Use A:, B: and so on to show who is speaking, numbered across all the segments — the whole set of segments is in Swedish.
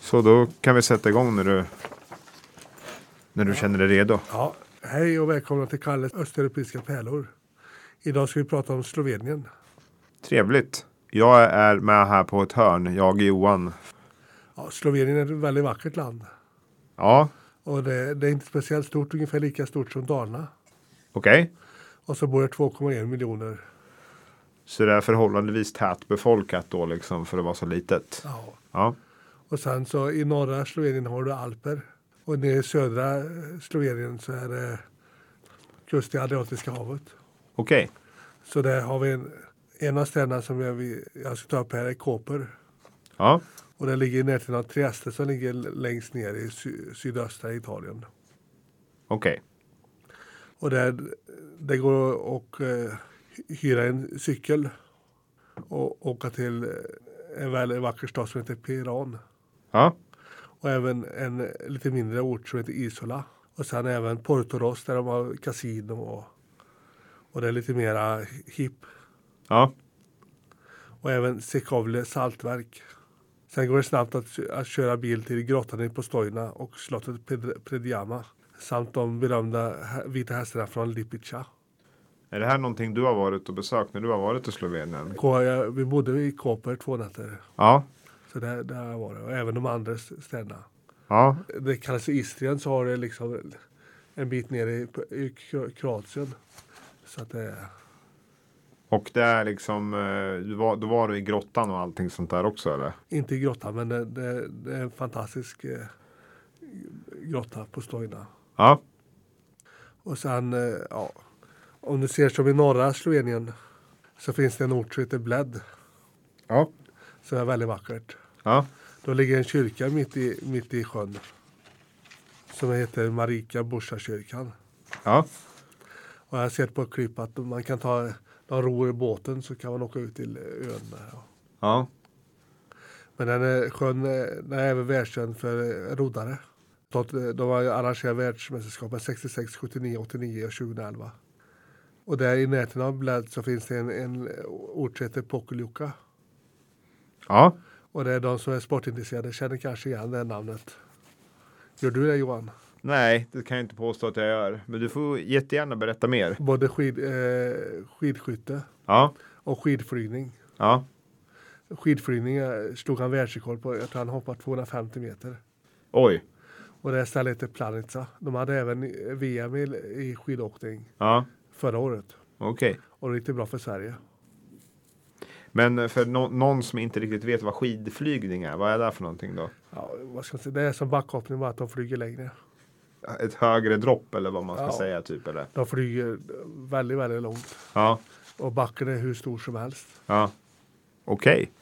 A: Så då kan vi sätta igång när du, när du känner dig redo.
B: Ja, hej och välkomna till Kalles östeuropeiska pärlor. Idag ska vi prata om Slovenien.
A: Trevligt. Jag är med här på ett hörn, jag är Johan.
B: Ja, Slovenien är ett väldigt vackert land
A: Ja,
B: och det, det är inte speciellt stort, ungefär lika stort som Dalarna.
A: okej.
B: Och så bor det 2,1 miljoner.
A: Så det är förhållandevis tätbefolkat då liksom för att vara så litet.
B: Ja.
A: Ja,
B: Och sen så i norra Slovenien har du alper och nere i södra eh, Slovenien så är det kust i Adriatiska havet.
A: okej.
B: Så där har vi en, en av städerna som jag, vill- jag ska ta upp här är Koper.
A: Ja,
B: Och den ligger i närheten av Trieste som ligger längst ner i sy- sydöstra Italien.
A: okej.
B: Och där, det går att eh, hyra en cykel och åka till eh, en väldigt vacker stad som heter Piran.
A: Ja,
B: Och även en lite mindre ort som heter Isola. Och sen även Portoros där de har kasino och, och det är lite mera hipp.
A: ja,
B: Och även Sekovle saltverk. Sen går det snabbt att, att köra bil till grottan i Postojna och slottet Ped- Predjama. Samt de berömda hä- vita hästarna från Lipica.
A: Är det här någonting du har varit och besökt när du har varit i Slovenien?
B: Ko- jag- Vi bodde i Koper två nätter.
A: Ja,
B: Så där, där var det. Och även de andra s- städerna.
A: ja,
B: Det kallas Istrien så har det liksom en bit ner i, i Kro- Kroatien. Så att det,
A: Och det är liksom, eh, du var, då var du i grottan och allting sånt där också eller?
B: inte i grottan men det, det, det är en fantastisk eh, grotta på Stojna.
A: Ja,
B: Och sen, eh, ja, om du ser som i norra Slovenien så finns det en ort som heter Bled
A: ja,
B: som är väldigt vackert.
A: ja,
B: Då ligger en kyrka mitt i, mitt i sjön som heter Marika Borsa-kyrkan.
A: ja,
B: Och jag har sett på ett klipp att man kan ta, de ror i båten så kan man åka ut till ön där. ja.
A: ja,
B: Men den är, sjön eh, den är även världskänd för eh, roddare. De- De har ju arrangerat världsmästerskapen 66, 79, 89 och 2011. Och där i närheten av Bled så finns det en, en ort som heter Pokoljuka.
A: ja.
B: Och det är de som är sportintresserade känner kanske igen det namnet. Gör du det Johan?
A: Nej, det kan jag inte påstå att jag gör. Men du får jättegärna berätta mer.
B: Både skid, eh, skidskytte
A: Ja,
B: och skidflygning.
A: ja,
B: Skidflygning eh, slog han världsrekord på. Jag tror han hoppade 250 meter.
A: oj,
B: Och det här stället heter Planica. De hade även eh, VM i, i skidåkning
A: ja,
B: förra året.
A: okej.
B: Och det gick det bra för Sverige.
A: Men eh, för nå- någon som inte riktigt vet vad skidflygning är, vad är det för någonting då?
B: Ja, vad ska man säga? Det är som backhoppning bara att de flyger längre.
A: Ett högre dropp eller vad man ska
B: Ja.
A: säga typ eller?
B: De flyger eh, väldigt, väldigt långt.
A: Ja,
B: Och backen är hur stor som helst.
A: ja, okej.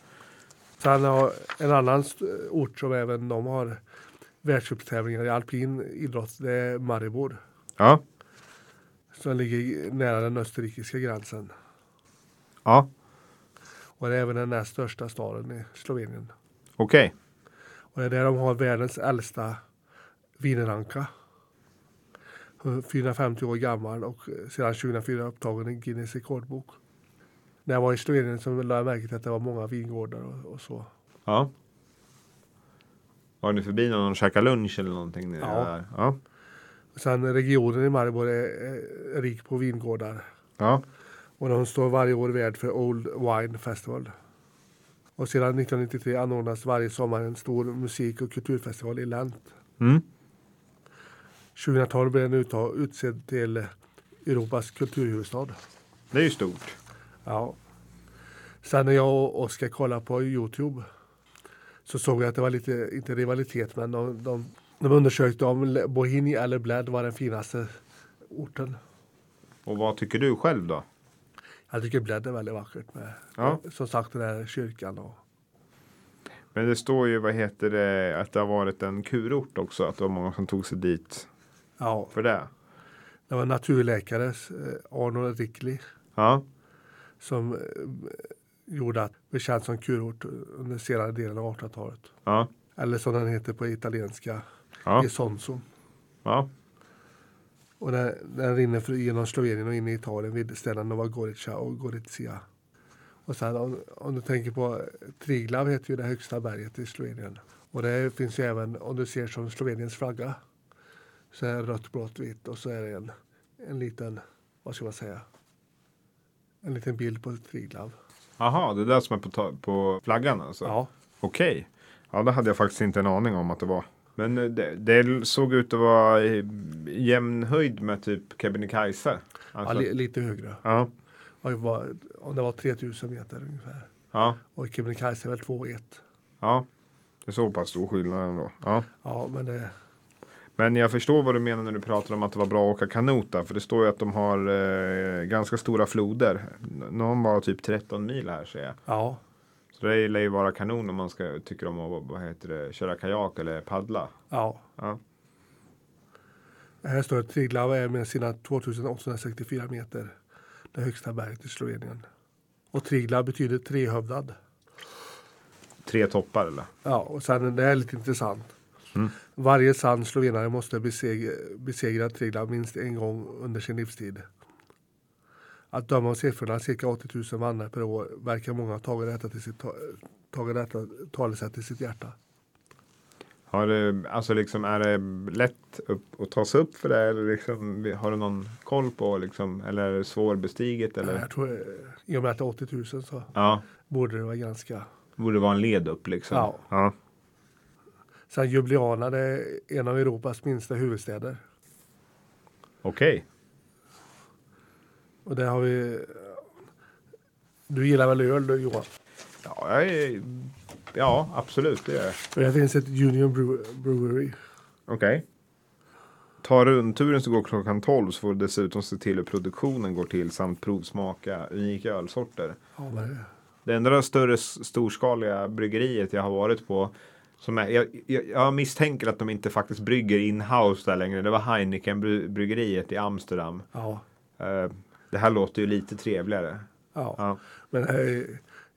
B: Sen har en annan st- eh, ort som även de har världscuptävlingar i alpin idrott. Det är Maribor.
A: Ja,
B: Som ligger i- nära den österrikiska gränsen.
A: ja,
B: Och det är även den näst största staden i Slovenien.
A: okej.
B: Och det är där de har världens äldsta wienerranka. 450 år gammal och sedan 2004 upptagen i Guinness rekordbok. När jag var i Slovenien så lade jag märke till att det var många vingårdar och, och så.
A: Ja. Var ni förbi någon och käkade lunch eller någonting? när ni
B: Ja.
A: var där? ja.
B: Sen regionen i Maribor är, är rik på vingårdar
A: Ja,
B: och de står varje år värd för Old Wine Festival. Och sedan 1993 anordnas varje sommar en stor musik och kulturfestival i Lent.
A: mm.
B: 2012 blev den uttag- utsedd till Europas kulturhuvudstad.
A: det är ju stort.
B: Ja. Sen när jag och Oskar kollade på Youtube så såg jag att det var lite, inte rivalitet, men de, de, de undersökte om Le- Bohini eller Bled var den finaste orten.
A: Och vad tycker du själv då?
B: Jag tycker Bled är väldigt vackert med,
A: Ja.
B: som sagt, den där kyrkan. Och,
A: Men det står ju, vad heter det, att det har varit en kurort också, att det var många som tog sig dit
B: ja,
A: för det.
B: det var naturläkare, eh, Arnold Rickley,
A: Ja,
B: som eh, gjorde att det känns som kurort under senare delen av 1800-talet.
A: ja,
B: Eller som den heter på italienska,
A: ja,
B: Isonzo.
A: ja,
B: Och den, den rinner för, genom Slovenien och in i Italien vid städerna Novagorica och Gorizia. Och sen om, om du tänker på Triglav heter ju det högsta berget i Slovenien. Och det finns ju även, om du ser som Sloveniens flagga, så är det rött, blått, vitt och så är det en, en liten, vad ska man säga, en liten bild på Triglav.
A: Aha, det där som är på, ta- på flaggan alltså?
B: Ja,
A: Okej. Ja, det hade jag faktiskt inte en aning om att det var. Men eh, det, det såg ut att vara i jämn höjd med typ Kebnekaise.
B: ja
A: Alltså,
B: li, lite högre.
A: ja,
B: Och det var, om det var 3000 meter ungefär.
A: ja,
B: Och Kebnekaise är väl 2,1.
A: ja. Det är så pass stor skillnad ändå. Ja.
B: Ja, men det,
A: Men jag förstår vad du menar när du pratar om att det var bra att åka kanot där. För det står ju att de har eh, ganska stora floder. N- Någon var typ 13 mil här ser jag.
B: ja,
A: Så det lär ju vara kanon om man ska, tycker om att vad heter det, köra kajak eller paddla.
B: ja.
A: Ja.
B: Här står att Triglav är med sina 2864 meter det högsta berget i Slovenien. Och Triglav betyder trehövdad.
A: Tre toppar eller?
B: Ja, och sen det är lite intressant.
A: Mm.
B: Varje sann slovenare måste besegra, besegra Triglav minst en gång under sin livstid. Att döma av siffrorna cirka 80 000 vannar per år verkar många ha tagit detta, till sitt, ta- tagit detta talesätt till sitt hjärta.
A: Har det, alltså liksom, är det lätt upp, att ta sig upp för det? Eller liksom, har du någon koll på liksom, eller är det svårbestiget? Eller?
B: Jag tror, eh, I och med att det är 80 000 så
A: Ja,
B: borde det vara ganska.
A: borde vara en led upp liksom.
B: Ja.
A: ja.
B: Sen Ljubljana det är en av Europas minsta huvudstäder.
A: Okej.
B: Och där har vi... Du gillar väl öl du Johan?
A: Ja, jag är, ja, absolut det gör jag.
B: Och där finns ett Union Brew- Brewery.
A: Okej. Ta rundturen så går klockan 12 så får du dessutom se till hur produktionen går till samt provsmaka unika ölsorter.
B: Ja, men,
A: Det enda större s- storskaliga bryggeriet jag har varit på som är, jag, jag, jag misstänker att de inte faktiskt brygger in-house där längre. Det var Heineken-bryggeriet i Amsterdam.
B: ja,
A: Eh, det här låter ju lite trevligare.
B: ja.
A: Ja.
B: men eh,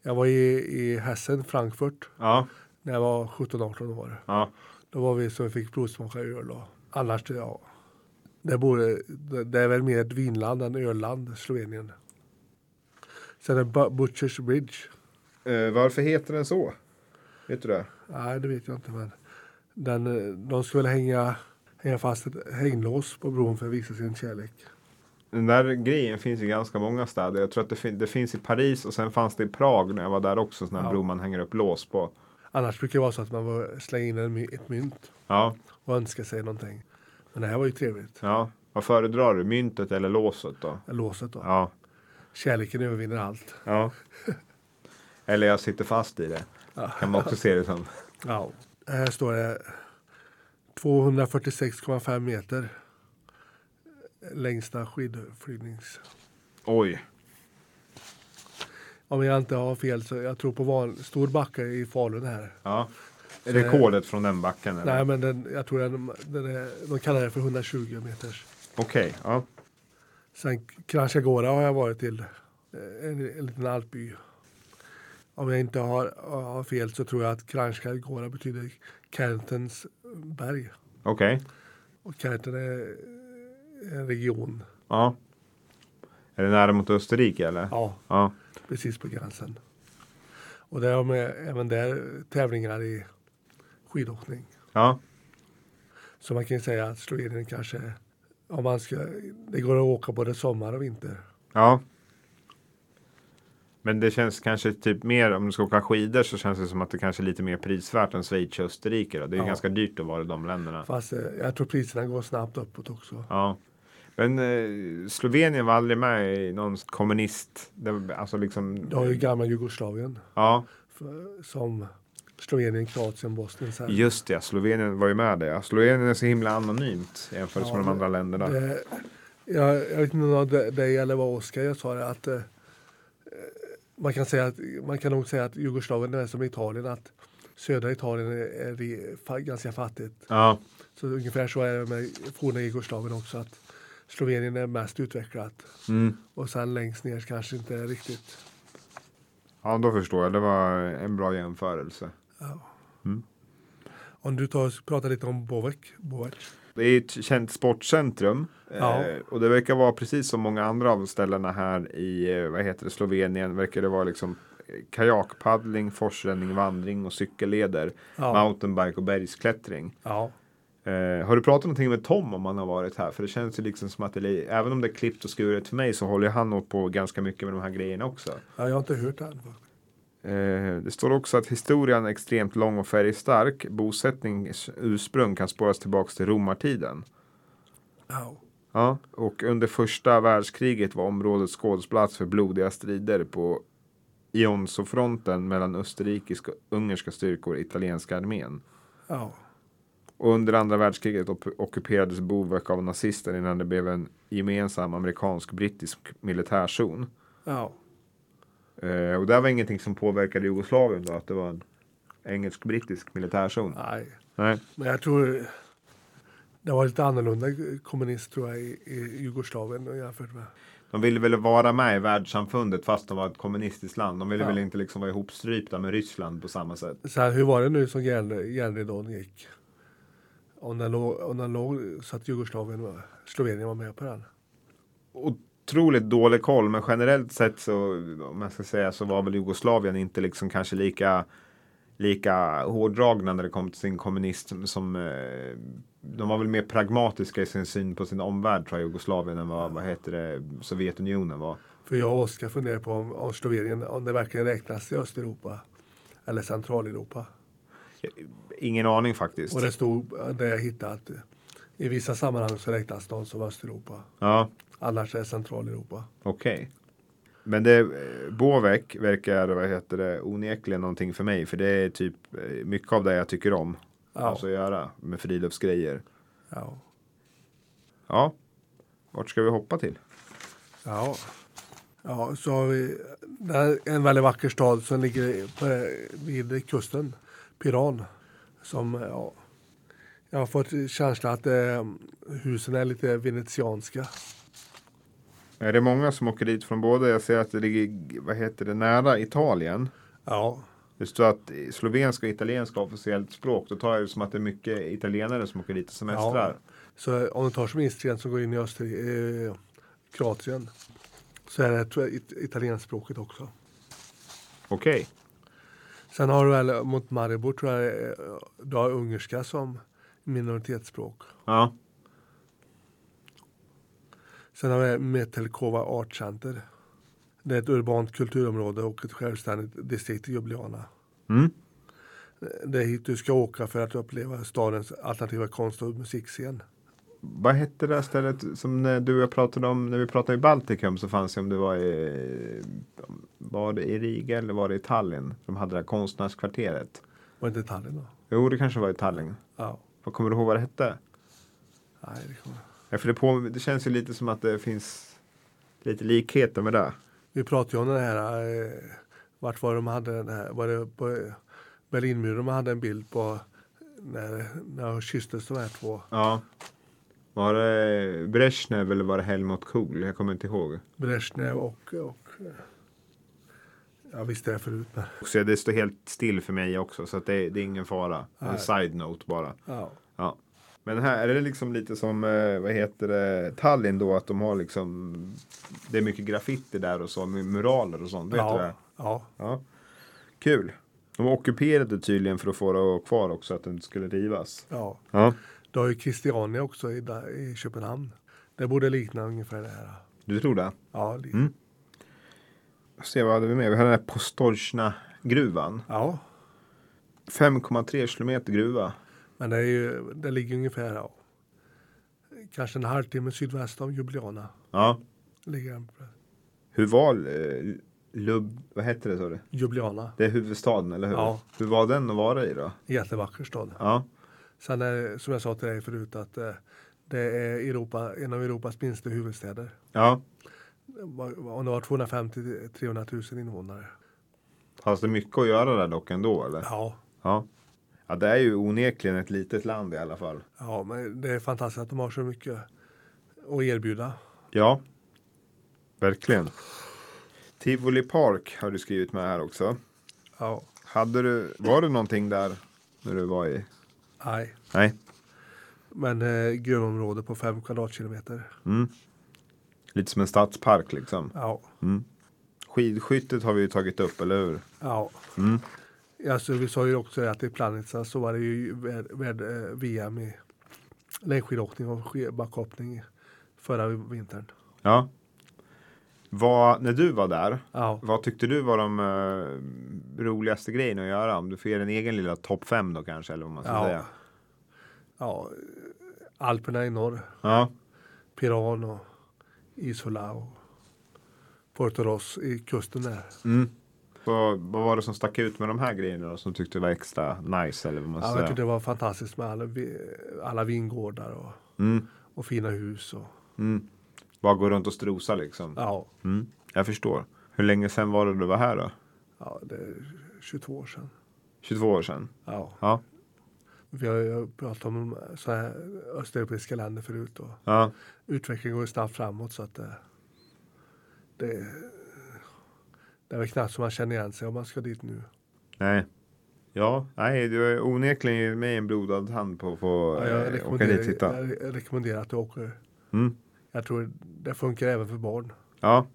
B: jag var i, i Hessen, Frankfurt,
A: Ja,
B: när jag var 17-18 år.
A: ja.
B: Då var vi så vi fick provsmaka öl. Och, annars, ja. Det, borde, det, det är väl mer ett vinland än ölland, Slovenien. Sen är Bu- Butchers Bridge.
A: Eh, varför heter den så? Vet du det?
B: Nej, det vet jag inte. Men den, eh, de skulle väl hänga, hänga fast ett hänglås på bron för att visa sin kärlek.
A: Den där grejen finns i ganska många städer. Jag tror att det, fin- det finns i Paris och sen fanns det i Prag när jag var där också. Sån här
B: Ja.
A: bro man hänger upp lås på.
B: Annars brukar det vara så att man får slänga in en, my- ett mynt
A: Ja,
B: och önska sig någonting. Men det här var ju trevligt.
A: ja. Vad föredrar du? Myntet eller låset då?
B: Låset då.
A: Ja.
B: Kärleken övervinner allt.
A: ja. Eller jag sitter fast i det.
B: Ja.
A: Kan man också se det som.
B: Ja. Här står det 246,5 meter. eh, Längsta skidflygnings...
A: Oj.
B: Om jag inte har fel så jag tror på van, stor backe i Falun här.
A: Ja. Rekordet från den backen? eller?
B: Nej men den, jag tror den, den är, de kallar det för 120 meters.
A: Okej, ja.
B: Sen Kranjčagora har jag varit till. eh, En, en liten alpby. Om jag inte har, har fel så tror jag att Kranjčagora betyder Kärntens berg.
A: Okej.
B: Och Kärnten är en region.
A: Ja. Är det nära mot Österrike eller?
B: Ja,
A: Ja.
B: precis på gränsen. Och där har man även där tävlingar i skidåkning.
A: Ja.
B: Så man kan ju säga att Slovenien kanske, om man ska, det går att åka både sommar och vinter.
A: ja. Men det känns kanske typ mer, om du ska åka skidor så känns det som att det kanske är lite mer prisvärt än Schweiz och Österrike. Då. Det är ju
B: Ja.
A: ganska dyrt att vara i de länderna.
B: Fast eh, jag tror priserna går snabbt uppåt också.
A: Ja. Men eh, Slovenien var aldrig med i någon kommunist, det, var- alltså liksom.
B: Du har ju gamla Jugoslavien
A: Ja,
B: för, som Slovenien, Kroatien, Bosnien. Så här.
A: just det. Slovenien var ju med där. ja. Slovenien är så himla anonymt jämfört
B: Ja,
A: med de
B: det-
A: andra länderna.
B: Det, jag, Eh, jag vet inte om det var dig- dig eller vad Oskar jag sa det att eh, man kan, säga att, man kan nog säga att Jugoslavien är som Italien att södra Italien är, är re- fa, ganska fattigt.
A: Ja,
B: Så ungefär så är det med forna Jugoslavien också att Slovenien är mest utvecklat
A: mm.
B: och sen längst ner kanske inte är riktigt.
A: ja, då förstår jag. Det var en bra jämförelse.
B: Ja.
A: Mm.
B: Om du tar, pratar lite om Bovek, Bovec.
A: Det är ett känt sportcentrum.
B: Ja.
A: Eh, och det verkar vara precis som många andra av ställena här i eh, vad heter det, Slovenien. Verkar det vara liksom eh, kajakpaddling, forsränning, vandring och cykelleder.
B: Ja.
A: Mountainbike och bergsklättring.
B: ja.
A: Eh, har du pratat någonting med Tom om han har varit här? För det känns ju liksom som att det, li- även om det är klippt och skuret för mig så håller han nog på ganska mycket med de här grejerna också.
B: ja jag har inte hört det än.
A: Eh, Det står också att historien är extremt lång och färgstark. Bosättningens ursprung kan spåras tillbaka till romartiden.
B: Ja.
A: Ja, och under första världskriget var området skådesplats för blodiga strider på Isonzofronten mellan österrikiska och ungerska styrkor och italienska armén.
B: Ja.
A: Och under andra världskriget opp- ockuperades Bovek av nazister innan det blev en gemensam amerikansk-brittisk militärzon.
B: Ja.
A: Eh, och det var ingenting som påverkade Jugoslavien då, att det var en engelsk-brittisk militärzon.
B: Nej.
A: Nej.
B: Men jag tror det var lite annorlunda kommunist tror jag i, i Jugoslavien jämfört med.
A: De ville väl vara med i världssamfundet fast de var ett kommunistiskt land. De ville
B: Ja.
A: väl inte liksom vara ihopstrypta med Ryssland på samma sätt.
B: Så här, hur var det nu som järn- järnridån gick? Om den, låg, om den låg så att Jugoslavien, var- Slovenien var med på den.
A: Otroligt dålig koll, men generellt sett så, om jag ska säga, så var väl Jugoslavien inte liksom kanske lika, lika hårdragna när det kom till sin kommunism som eh, de var väl mer pragmatiska i sin syn på sin omvärld tror jag, Jugoslavien än vad, vad heter det, Sovjetunionen var.
B: För jag och Oskar funderar på om, om Slovenien, om det verkligen räknas till Östeuropa eller Centraleuropa.
A: Ingen aning faktiskt.
B: Och det stod, det jag hittade, att i vissa sammanhang så räknas de som Östeuropa.
A: Ja,
B: Annars är det Centraleuropa.
A: Okej. Men det, eh, Bovek verkar, vad heter det, onekligen någonting för mig. För det är typ eh, mycket av det jag tycker om.
B: Ja.
A: Alltså att göra med friluftsgrejer.
B: Ja.
A: Ja. Vart ska vi hoppa till?
B: Ja. Ja, så har vi det här är en väldigt vacker stad som ligger på, vid kusten, Piran. Som, ja, jag har fått känslan att eh, husen är lite venetianska.
A: Är det många som åker dit från båda? Jag ser att det ligger, vad heter det, nära Italien.
B: Ja,
A: Det står att slovenska och italienska är officiellt språk. Då tar jag det som att det är mycket italienare som åker dit och semestrar.
B: så om du tar som instrument som går in i Österrike, eh, Kroatien så är det tror jag, it- italienspråket också.
A: Okej.
B: Sen har du väl mot Maribor tror jag eh, du har ungerska som minoritetsspråk.
A: Ja.
B: Sen har vi Metelkova Art Center. Det är ett urbant kulturområde och ett självständigt distrikt i Ljubljana.
A: Mm.
B: Det är hit du ska åka för att uppleva stadens alternativa konst och musikscen.
A: Vad hette det där stället som när du och jag pratade om när vi pratade i Baltikum så fanns det om det var i, var det i Riga eller var det i Tallinn? De hade det här konstnärskvarteret.
B: Var inte Tallinn då?
A: Jo, det kanske var i Tallinn.
B: Ja.
A: Vad kommer du ihåg vad det hette?
B: Nej, det kommer jag.
A: Ja, för det, på, det känns ju lite som att det finns lite likheter med det.
B: Vi pratade ju om den här, eh, vart var de hade den här, var det på eh, Berlinmuren man hade en bild på när, när de kysstes de här två.
A: Ja. Var det Brezhnev eller var det Helmut Kohl? Jag kommer inte ihåg. Mm.
B: Brezhnev och, och eh, jag visste det förut men
A: Och så det står helt still för mig också så att det, det är ingen fara. En
B: Nej.
A: side-note bara.
B: ja.
A: Ja. Men här är det liksom lite som, eh, vad heter det, Tallinn då, att de har liksom, det är mycket graffiti där och så, med muraler och sånt. Vet du
B: ja,
A: det?
B: ja,
A: Ja. Kul. De ockuperade tydligen för att få det att vara kvar också, att det inte skulle rivas.
B: ja.
A: Ja.
B: Du har ju Christiania också i, där, i Köpenhamn. Det borde likna ungefär det här.
A: Du tror det?
B: Ja, li-
A: Mm. Se, vad hade vi mer? Vi hade den här Postojna-gruvan.
B: ja
A: 5,3 kilometer gruva.
B: men det, är ju, det ligger ungefär ja. kanske en halvtimme sydväst om Ljubljana.
A: Ja.
B: Ligger den.
A: Hur var eh, Lub... Vad hette det, sa du?
B: Ljubljana,
A: Det är huvudstaden, eller hur?
B: Ja.
A: Hur var den att vara i då?
B: jättevacker stad.
A: Ja.
B: Sen är det, som jag sa till dig förut att eh, det är Europa, en av Europas minsta huvudstäder.
A: Ja.
B: Var- Om det var 250 000 300 000 invånare.
A: Fanns det mycket att göra där dock ändå, eller?
B: Ja,
A: Ja. Ja, det är ju onekligen ett litet land i alla fall.
B: ja, men det är fantastiskt att de har så mycket att erbjuda.
A: Ja. Verkligen. Tivoli Park har du skrivit med här också.
B: Ja,
A: Hade du, var det någonting där när du var i?
B: nej.
A: Nej.
B: Men eh, grönområde på fem kvadratkilometer.
A: Mm. Lite som en stadspark liksom.
B: Ja.
A: Mm. Skidskyttet har vi ju tagit upp, eller hur?
B: ja.
A: Mm.
B: Alltså, vi sa ju också att i Planica så var det ju värld- värld- eh, VM i längdskidåkning och sk- backhoppning förra vintern.
A: Ja. Vad, när du var där,
B: Ja.
A: vad tyckte du var de eh, roligaste grejerna att göra? Om du får ge en egen lilla topp fem då kanske, eller vad man ska
B: Ja.
A: säga.
B: ja. Alperna i norr,
A: Ja.
B: Piran och Isola och Portoros i kusten där.
A: Mm. Vad, vad var det som stack ut med de här grejerna då, som du tyckte var extra nice? Eller vad man ska
B: Ja, jag
A: säga?
B: tyckte det var fantastiskt med alla, vi- alla vingårdar och,
A: Mm.
B: och fina hus. Och,
A: Mm. Bara gå runt och strosa liksom.
B: ja,
A: Mm. Jag förstår. Hur länge sedan var det du var här då?
B: ja, det är 22 år sedan.
A: 22 år sedan?
B: Ja.
A: Ja.
B: Vi har ju pratat om så här östeuropeiska länder förut. Och
A: ja.
B: utvecklingen går ju snabbt framåt så att det, det, det är väl knappt som man känner igen sig om man ska dit nu.
A: Nej. Ja, nej, du är onekligen gett mig en blodad hand på att få
B: Ja, jag,
A: eh, åka dit och titta.
B: rekommenderar, jag rekommenderar att du åker.
A: Mm.
B: Jag tror det funkar även för barn.
A: Ja.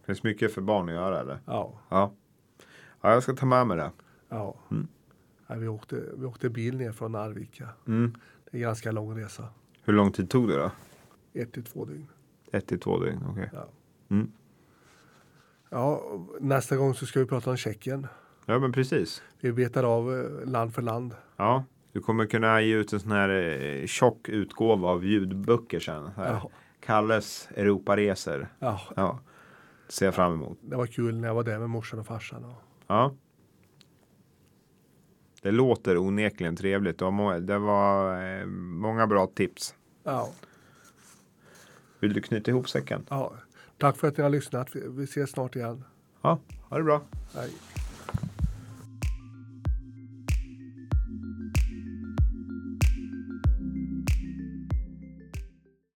A: Det finns mycket för barn att göra eller?
B: Ja,
A: Ja. Ja, jag ska ta med mig det.
B: ja.
A: Mm.
B: ja vi, åkte, vi åkte bil ner från Arvika.
A: Mm.
B: Det är en ganska lång resa.
A: Hur lång tid tog det då?
B: Ett till två dygn.
A: Ett till två dygn, okej.
B: Ja.
A: Mm.
B: Ja, och nästa gång så ska vi prata om Tjeckien.
A: Ja, men precis.
B: Vi betar av eh, land för land.
A: Ja, du kommer kunna ge ut en sån här eh, tjock utgåva av ljudböcker sen. Här.
B: Ja.
A: Kalles Europaresor.
B: Ja,
A: Ja, ser jag fram emot.
B: det var kul när jag var där med morsan och farsan. Och,
A: Ja. Det låter onekligen trevligt. Det var, må- det var eh, många bra tips.
B: ja,
A: Vill du knyta ihop säcken?
B: ja. Tack för att ni har lyssnat. Vi, vi ses snart igen.
A: Ja, ha det bra.
B: Hej.